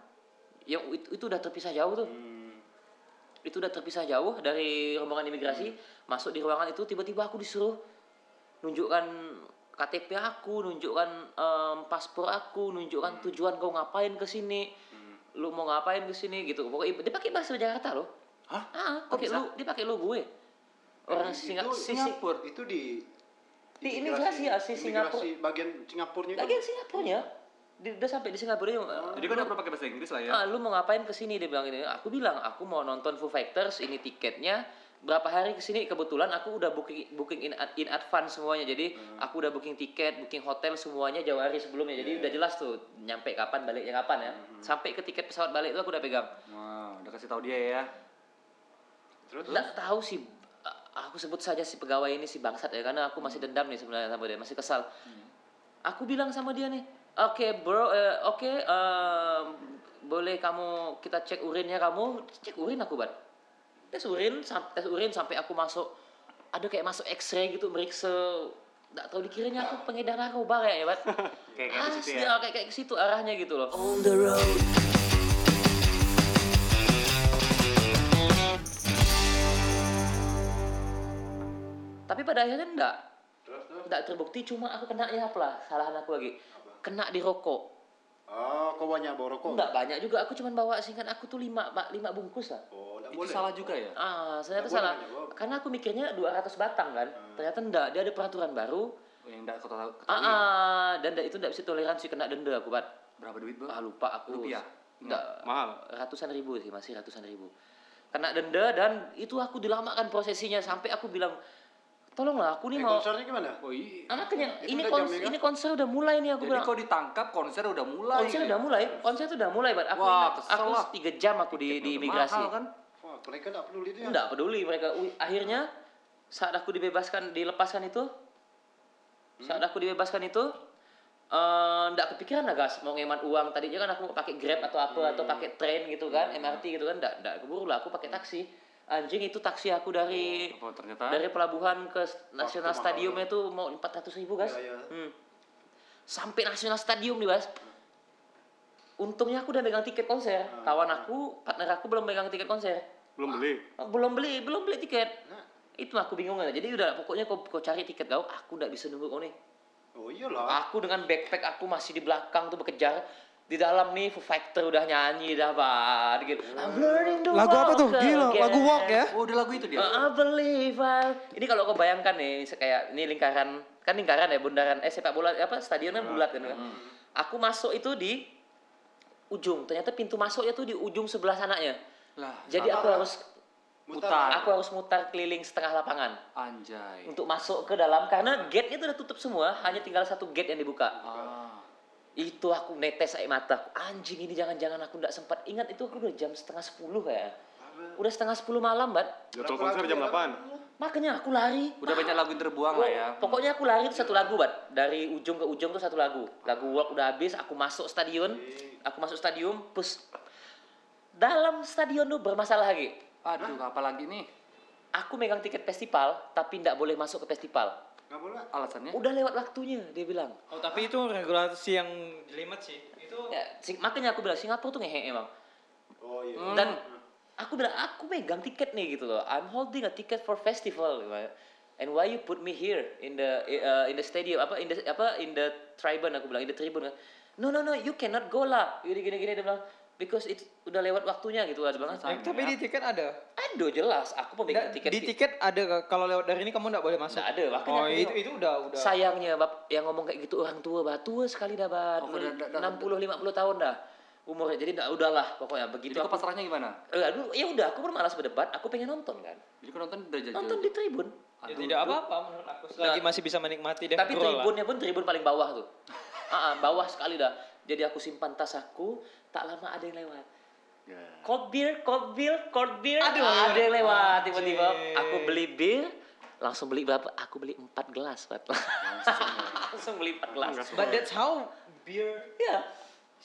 yang itu, itu udah terpisah jauh tuh Hmm, itu udah terpisah jauh dari rombongan imigrasi Hmm. masuk di ruangan itu tiba-tiba aku disuruh nunjukkan KTP aku nunjukkan em, paspor aku Hmm. nunjukkan tujuan kau ngapain ke sini lu mau ngapain ke sini gitu pokoknya dia pakai bahasa Jakarta loh Hah? ah pakai lu dia pakai lu gue orang Oh, Itu Singa- si- si- Singapura. Itu di Di imigrasi ya, si Singapura. imigrasi bagian Singapurnya. lagi yang Singapurnya dia udah sampai di Singapura dia eh, Ah. Jadi kau udah pernah pakai bahasa Inggris lah ya. ah, lu mau ngapain ke sini dia bilang gini aku bilang aku mau nonton Foo Fighters ini tiketnya berapa hari ke sini kebetulan aku udah booking booking in, ad- in advance semuanya jadi aku udah booking tiket booking hotel semuanya jauh hari sebelumnya jadi udah jelas tuh nyampe kapan baliknya kapan ya sampai ke tiket pesawat balik itu aku udah pegang Wow, udah kasih tahu dia ya. nggak tahu sih a- aku aku sebut saja si pegawai ini si bangsat ya karena aku masih dendam nih sebenarnya sama dia, masih kesal. Aku bilang sama dia nih, oke bro, eh, oke eh, boleh kamu kita cek urinnya kamu, cek urin aku ban. Tes urin, sam- tes urin sampai aku masuk, aduh kayak masuk X-ray gitu meriksa, nggak tahu dikiranya aku pengedar narkoba kayaknya ban. Kayak- kayak di situ Asli, ya? oh, kayak kayak ke situ arahnya gitu loh. on the road. Tapi pada akhirnya enggak. Enggak terbukti cuma aku kena ya apalah kesalahan aku lagi. Kena di rokok. Ah, kau banyak bawa rokok? Enggak banyak juga aku cuma bawa singkat aku tuh 5 lima bungkus lah. Oh, enggak Itu boleh. salah juga ya? Ah, ternyata Nggak boleh, salah. nggak boleh. Karena aku mikirnya 200 batang kan. Ternyata enggak, dia ada peraturan baru. Yang enggak kau tahu Ah, ketahui. ah, dan enggak- itu enggak bisa toleransi kena denda aku, Bat. Berapa duit, Bang? Ah, lupa aku. Rupiah? Enggak, Mahal. Ratusan ribu sih, masih ratusan ribu. Kena denda dan itu aku dilamakan prosesinya sampai aku bilang, "Tolonglah, aku Eh, nih mau konsernya gimana? Oh iya. Ah, makanya Itu ini udah kons- jamnya kan? ini konser udah mulai nih aku Jadi bilang. kau ditangkap konser udah mulai. konser udah mulai, konser tuh udah mulai, Bat. Aku Wah, ingat, kesel aku lah. tiga jam aku di di imigrasi. Mahal kan? Wah, mereka enggak peduli dia. Enggak peduli mereka. Ui, Akhirnya saat aku dibebaskan, dilepaskan itu Hmm? saat aku dibebaskan itu eh, enggak kepikiran lah gas mau ngeman uang tadinya kan aku pakai Grab atau apa atau Hmm. pakai train gitu kan, MRT gitu kan enggak enggak keburu lah aku pakai taksi. Anjing itu taksi aku dari Oh, Apa ternyata? dari pelabuhan ke National mahal. Stadium itu mau 400 ribu guys Iya, iya. Hmm. sampai National Stadium nih guys untungnya aku udah megang tiket konser Hmm. kawan aku partner aku belum megang tiket konser Belum beli. Oh, belum beli belum beli tiket Nah. itu aku bingung aja jadi udah pokoknya kau, kau cari tiket kau aku nggak bisa nunggu kau nih Ah, Oh, iyalah. aku dengan backpack aku masih di belakang tuh bekejar di dalam nih Foo Fighter udah nyanyi dah bar gitu I'm learning the Lagu apa tuh? walk Gila, lagu again. walk ya. Oh, udah lagu itu dia. I believe I... Ini kalau kau bayangkan nih, se- kayak ini lingkaran, kan lingkaran ya, bundaran, eh sepak bola, apa stadion kan Hmm. bulat kan. kan? Aku masuk itu di ujung, ternyata pintu masuknya tuh di ujung sebelah sananya. Lah, Jadi aku harus Mutar. aku harus mutar keliling setengah lapangan Anjay. untuk masuk ke dalam karena gate itu udah tutup semua, hanya tinggal satu gate yang dibuka. Ah. Itu aku netes air mata, aku, anjing ini jangan-jangan aku nggak sempat ingat itu aku udah jam setengah sepuluh ya. Udah setengah sepuluh malam, Bat. Jadwal konser jam 8. Makanya aku lari. Udah banyak lagu yang terbuang lah ya. Pokoknya aku lari tuh satu lagu, Bat. Dari ujung ke ujung tuh satu lagu. Lagu walk udah habis, aku masuk stadion. Aku masuk stadion, pus. Dalam stadion tuh bermasalah lagi. Aduh, apa lagi nih? Aku megang tiket festival, tapi nggak boleh masuk ke festival. Enggak boleh. Alasannya? Udah lewat waktunya, dia bilang. Oh tapi itu regulasi yang jelimet sih. Itu Ya, Sing- makanya aku bilang, Singapura tuh ngehe emang. Oh, iya. Dan Hmm. aku bilang, aku megang tiket nih gitu loh. I'm holding a ticket for festival. gitu. And why you put me here in the uh, in the stadium apa in the apa in the tribune aku bilang in the tribune. No no no, you cannot go lah. Gini gini gini dia bilang because itu udah lewat waktunya gitu lah dia bilang. Eh, tapi di tiket ada. Aduh jelas aku pemegang Nggak, tiket. di tiket ada kalau lewat dari ini kamu nggak boleh masuk. Nggak ada, makanya Oh aku itu bilang. itu udah udah. Sayangnya bab yang ngomong kayak gitu orang tua, bah tua sekali dah bah. Oh, udah- udah- udah- 60 50 tahun dah umurnya. Jadi nggak udahlah pokoknya Jadi begitu. kau Aku, pasrahnya gimana? Eh, aduh, ya udah aku bermalas berdebat, aku pengen nonton kan. Jadi kau nonton Iya, udah jauh. Nonton di tribun. Ya, tidak apa-apa menurut aku Nah, selagi masih bisa menikmati dan Tapi grow lah. tribunnya pun tribun paling bawah tuh. Ah, ah, bawah sekali dah. Jadi aku simpan tas aku, tak lama ada yang lewat. Cold beer, cold beer, cold beer. Ya. Aduh. Ah, ada yang lewat Anjing. tiba-tiba. Aku beli bir, langsung beli berapa? Aku beli 4 gelas, Pat. ya. langsung beli 4 gelas. But that's how beer Ya.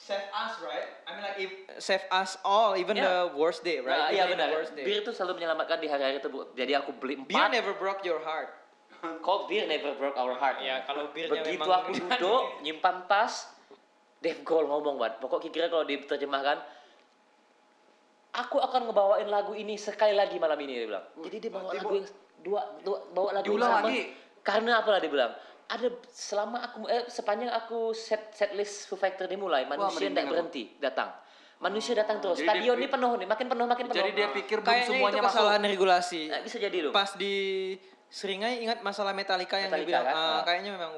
save us, right? I mean like if save us all, even Yeah. the worst day, Nah, right? iya Even benar. the worst day. Bir itu selalu menyelamatkan di hari-hari terburuk. Jadi aku beli Beer 4. never broke your heart. Cold beer never broke our heart. Ya, kalau birnya Begitu memang- aku duduk, nyimpan tas, Dave Grohl ngomong, Wan. Pokok kira kalau diterjemahkan, aku akan ngebawain lagu ini sekali lagi malam ini, dia bilang. Jadi dia bawa lagu yang, dua, dua, bawa lagu yang Diulang sama. lagi. Karena apalah dia bilang, ada selama aku, eh, sepanjang aku set, set list Foo Factor ini mulai, manusia merinding tidak aku. Oh, berhenti datang. Manusia datang terus, Jadi dia- stadion ini penuh nih, makin penuh, makin penuh. Jadi dia pikir belum Kayaknya itu semuanya masuk. kesalahan regulasi. Nah, bisa jadi loh. Pas di Seringai ingat masalah Metallica yang Metallica dibilang kan, "Ah, ah." Nah, kayaknya memang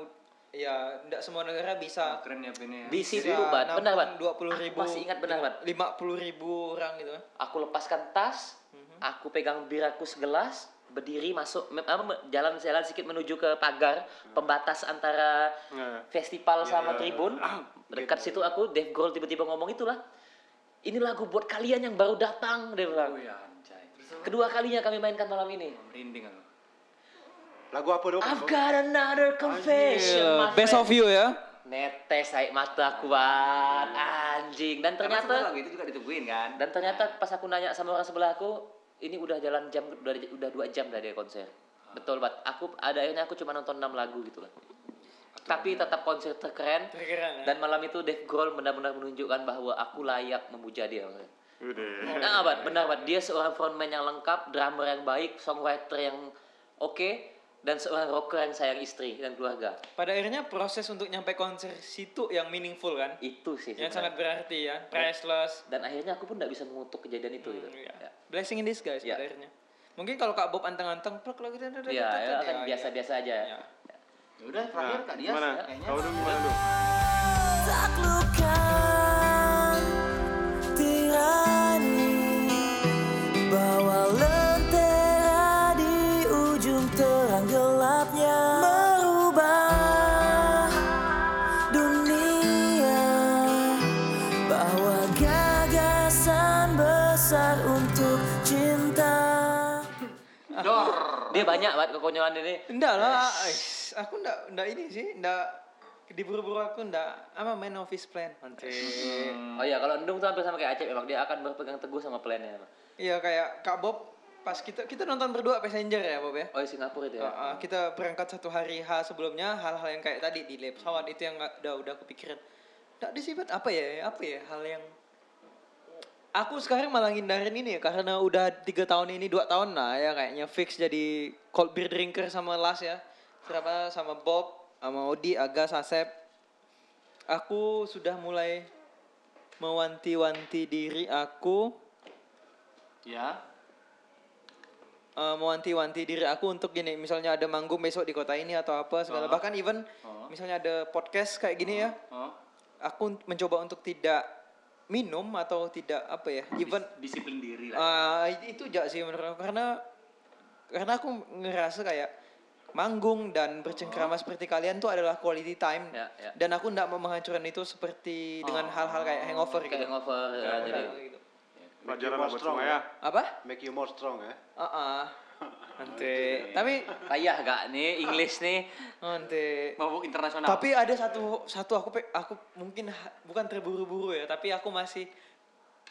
ya tidak semua negara bisa Keren ya ini ya. Di situ, bisa Bat. Benar, Bat. dua puluh ribu Aku masih ingat benar, Bat. lima puluh ribu orang gitu kan aku lepaskan tas, aku pegang bir aku segelas, berdiri masuk me- apa, me- jalan-jalan sedikit menuju ke pagar pembatas antara Iya. festival sama tribun. Dekat situ aku Dave Grohl tiba-tiba ngomong itulah. Ini lagu buat kalian yang baru datang, dia bilang. Oh ya, anjay. Terus Kedua kalinya kami mainkan malam ini. merinding aku. Lagu apa dong? I've got another confession, my Gila, Iya, Best friend. of you ya. Netes air mata kuat, anjing. Dan Iya. Karena sebenarnya ternyata lagu itu juga ditungguin kan. dan ternyata pas aku nanya sama orang sebelah aku, ini udah jalan jam udah udah dua jam dah dari konser. Ah. Betul banget. Aku ada akhirnya aku cuma nonton 6 lagu gitu lah. ya. Tapi tetap konser terkeren. Terkeren, ya. Dan malam itu Dave Grohl benar-benar menunjukkan bahwa aku layak memuja dia. Udah. Nah, abad, benar abad. Dia seorang frontman yang lengkap, drummer yang baik, songwriter yang oke, dan seorang rocker yang sayang istri dan keluarga. Pada akhirnya proses untuk nyampe konser situ yang meaningful kan. Itu sih. Yang sangat sebenarnya. berarti ya. Priceless. Dan akhirnya aku pun nggak bisa mengutuk kejadian itu. gitu. Hmm, ya. Ya. Blessing in disguise Ya. pada akhirnya. Mungkin kalau Kak Bob anteng-anteng, plak lagi dan Iya, ya, kan biasa-biasa aja. Ya. Ya udah terakhir Kak Dias gimana? kayaknya. Kau dong gimana dong? Taklukkan tirani Bawa lentera di ujung terang gelapnya Merubah dunia Bawa gagasan besar untuk cinta Dia banyak banget kekonyolan ini. Enggak lah, ais. aku enggak enggak ini sih, enggak diburu-buru aku enggak apa main office plan. Anjir. Oh iya, kalau Endung tuh hampir sama kayak Acep memang dia akan berpegang teguh sama plannya. emang. Iya kayak Kak Bob pas kita kita nonton berdua passenger ya Bob ya. Oh di Singapura itu Uh, ya. uh, kita berangkat satu hari H sebelumnya hal-hal yang kayak tadi di lab pesawat itu yang nggak- udah udah kepikiran. Enggak disifat apa ya? Apa ya hal yang Aku sekarang malah ngindarin ini ya karena udah tiga tahun ini dua tahun lah ya kayaknya fix jadi cold beer drinker sama Las ya. Serapa sama Bob, sama Odi, Aga, Sasep. Aku sudah mulai mewanti-wanti diri aku Ya. eh, mewanti-wanti diri aku untuk gini misalnya ada manggung besok di kota ini atau apa segala bahkan even misalnya ada podcast kayak gini ya Oh. aku un- mencoba untuk tidak minum atau tidak apa ya even Disiplin diri lah. ah, i- itu aja sih menurut aku karena karena aku ngerasa kayak manggung dan bercengkrama seperti kalian tuh adalah quality time Ya, ya. Oh. dan aku tidak mau menghancurkan itu seperti dengan hal-hal kayak hangover Kayak gitu. hangover, ya, jadi. gitu. Pelajaran Make you abad strong, semua ya. apa? Make you more strong ya. Ah, ah. nanti tapi Payah gak nih English nih? Oh, nanti Mabuk internasional. Tapi ada satu satu aku pe- aku mungkin ha- bukan terburu-buru ya, tapi aku masih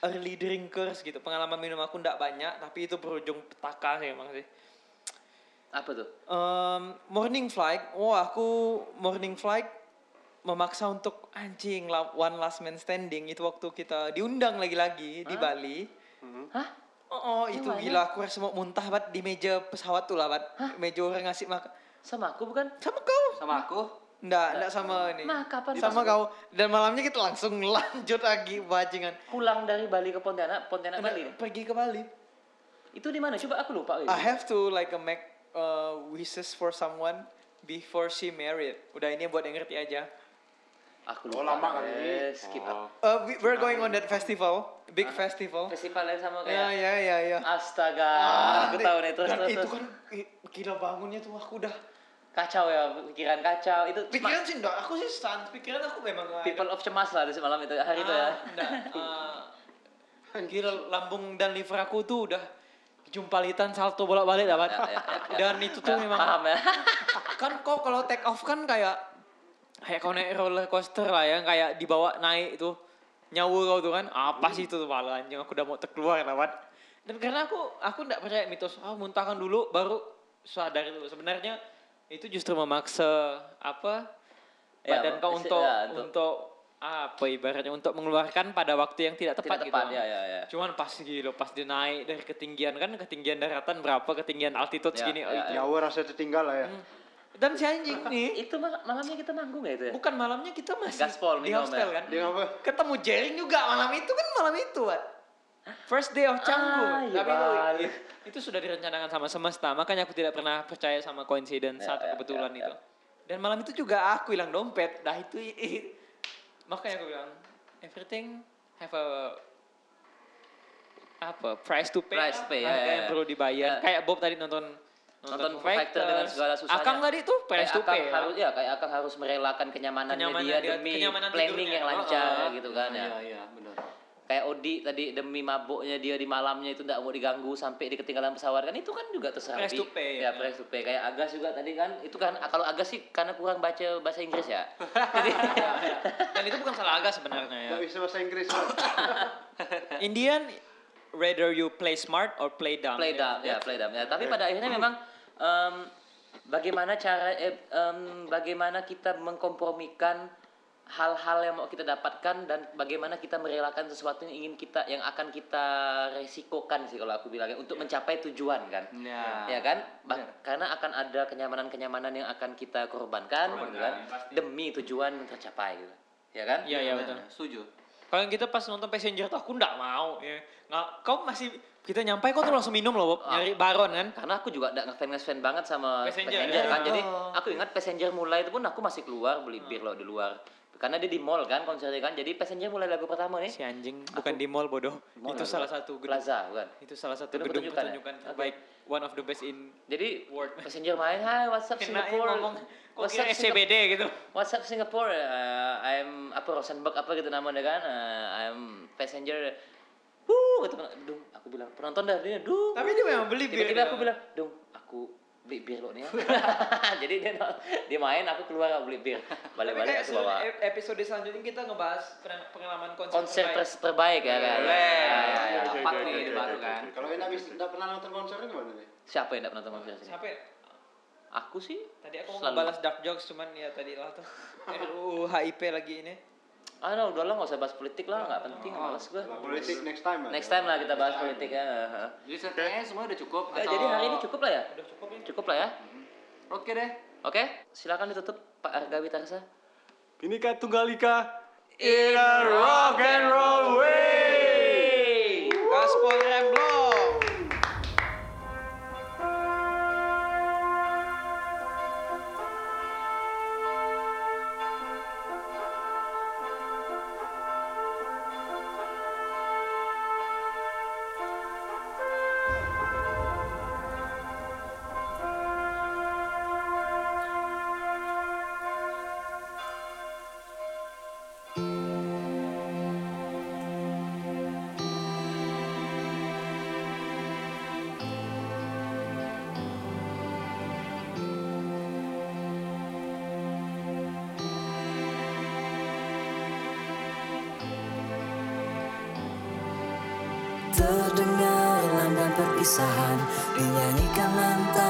early drinkers gitu. Pengalaman minum aku ndak banyak, tapi itu berujung petaka sih emang sih. Apa tuh? Em, morning flight, wah aku morning flight memaksa untuk anjing la- one last man standing itu waktu kita diundang lagi-lagi di Bali. Hmm. Hah? Oh, oh, itu gila aku rasa mau muntah banget di meja pesawat tuh lah bat. Meja orang ngasih makan. Sama aku bukan? Sama kau. sama aku Nggak, nggak sama ini. Nah, kapan sama kau. Dan malamnya kita langsung lanjut lagi bajingan. Nah, Pulang dari Bali ke Pontianak, Pontianak Bali. nih. Pergi ke Bali. Itu di mana? Coba aku lupa. gitu. I have to like make uh, wishes for someone before she married. Udah ini buat yang ngerti aja. Aku Oh, lupa. lama kali ini. Eh, Skip up. Uh, we- we're going on that festival, big festival. Nah. Festival yang sama kayak Ya ya ya ya. Astaga, aku Nanti- tahu nih terus dan terus. itu terus. kan i- gila bangunnya tuh aku udah Kacau ya, pikiran kacau. Itu cemas. pikiran sih enggak, aku sih stun, pikiran aku memang nggak ada. people of cemas lah di malam itu hari itu ya. Ah, enggak. Ah, gila lambung dan liver aku tuh udah jumpalitan salto bolak-balik dapat. Ya, ya, ya, ya. Dan itu tuh Ya, memang paham ya. kan kok kalau take off kan kayak kayak kau naik roller coaster lah ya, kayak dibawa naik itu nyawa kau tuh kan. Apa sih itu tuh malah anjing aku udah mau terkeluar lewat. Dan karena aku aku enggak percaya mitos, ah muntahkan dulu baru sadar itu. Sebenarnya itu justru memaksa apa Ya, badan kau se- untuk ya, untuk, untuk- apa ibaratnya untuk mengeluarkan pada waktu yang tidak tepat, Tidak tepat gitu. ya ya ya. Cuman pas gila pas dia naik dari ketinggian kan ketinggian daratan berapa ketinggian Ya, altitude segini oh, ya, itu. Nyawa rasa tertinggal lah ya. Dan si anjing Iya. nih Itu mal- malamnya kita manggung ya itu ya? bukan malamnya kita masih Gaspol di minum, hostel ya. kan. Dia apa? Ketemu Jering juga malam itu kan malam itu, Wat. First day of Canggu. Ah, iya, Tapi itu, Bal. itu sudah direncanakan sama semesta, makanya aku tidak pernah percaya sama coincidence Ya, saat ya, kebetulan ya, itu. Dan malam itu juga aku hilang dompet. Dah itu i- i- makanya aku bilang everything have a apa price to pay Price lah, pay, ya, harga ya, yang ya. perlu dibayar Ya. kayak Bob tadi nonton Nonton Foo Fighters dengan segala susahnya. akang tadi tuh price Kayak to Akang pay ya. harus ya kayak akan harus merelakan kenyamanannya Kenyamanan dia, dia- demi kenyamanan planning tidurnya. yang lancar Oh, oh. gitu kan ya. Iya iya benar. kayak Odi tadi demi mabuknya dia di malamnya itu tidak mau diganggu sampai di ketinggalan pesawat kan itu kan juga terserah Press Odi. to pay, ya, ya. press to pay. kayak Agas juga tadi kan itu kan kalau Agas sih karena kurang baca bahasa Inggris ya jadi Dan itu bukan salah agak sebenarnya ya. Gak bisa bahasa Inggris. Pak. Indian rather you play smart or play dumb. play dumb ya play dumb ya tapi pada akhirnya memang em, bagaimana cara eh, em, bagaimana kita mengkompromikan hal-hal yang mau kita dapatkan dan bagaimana kita merelakan sesuatu yang ingin kita yang akan kita resikokan sih kalau aku bilangnya untuk mencapai tujuan kan Nah. ya kan Bah- karena akan ada kenyamanan-kenyamanan yang akan kita korbankan gitu kan demi tujuan yang tercapai gitu ya kan Iya iya betul. Setuju. Kalau yang kita pas nonton Passenger tuh aku ndak mau. Ya. Nggak, kau masih kita nyampe kau tuh langsung minum loh Bob, Ah. nyari baron kan. karena aku juga nggak ngefans ngefans banget sama Passenger, passenger, ya. kan jadi aku ingat passenger mulai itu pun aku masih keluar beli Hmm. bir loh di luar karena dia di mall kan konsernya kan jadi passenger mulai lagu pertama nih Eh, Si anjing bukan di mall bodoh. Mall itu ya, salah satu gedung. plaza bukan Itu salah satu Gedung gedung pertunjukan ya? pertunjukan Oke. terbaik. One of the best in jadi Word. passenger main hai what's up Kena ya Singapore ngomong kok what's up kira Singapore SCBD gitu. what's up Singapore Uh, I'm apa Rosenberg apa gitu namanya kan Uh, I'm passenger Wuh, kata pen- dung, aku bilang penonton dah dia dung. Tapi dia memang beli bir. Tiba-tiba aku bilang, "Dong, aku beli bir lo nih." ya." Jadi dia no- dia main aku keluar aku beli bir. Tapi Balik-balik kayak aku bawa sel- episode selanjutnya kita ngebahas peren- pengalaman konser, konser terbaik. pers- terbaik ya kan. Ya, ya, ya. Empat nih baru kan. Kalau Enda bisa tidak pernah nonton konsernya gimana nih? Siapa yang enggak pernah nonton konser sini? Siapa ya? Aku sih. Tadi aku mau selalu- balas dark jokes cuman ya tadi lah tuh Eh, uh, RUU HIP lagi ini. Ah, no, udah lah enggak usah bahas politik lah, enggak penting, males gue. Politik next time. Next time lah kita bahas politik ya. Jadi kayaknya semua udah cukup. Nah, atau- jadi hari ini cukup lah ya? Udah cukup nih. Cukup lah ya. Oke deh. Oke, silakan ditutup Pak Argawi Tarsa. Pinika Tunggalika In a rock and roll way. Gaspol Remblong. Terdengar lambang perpisahan Dinyanyikan lantas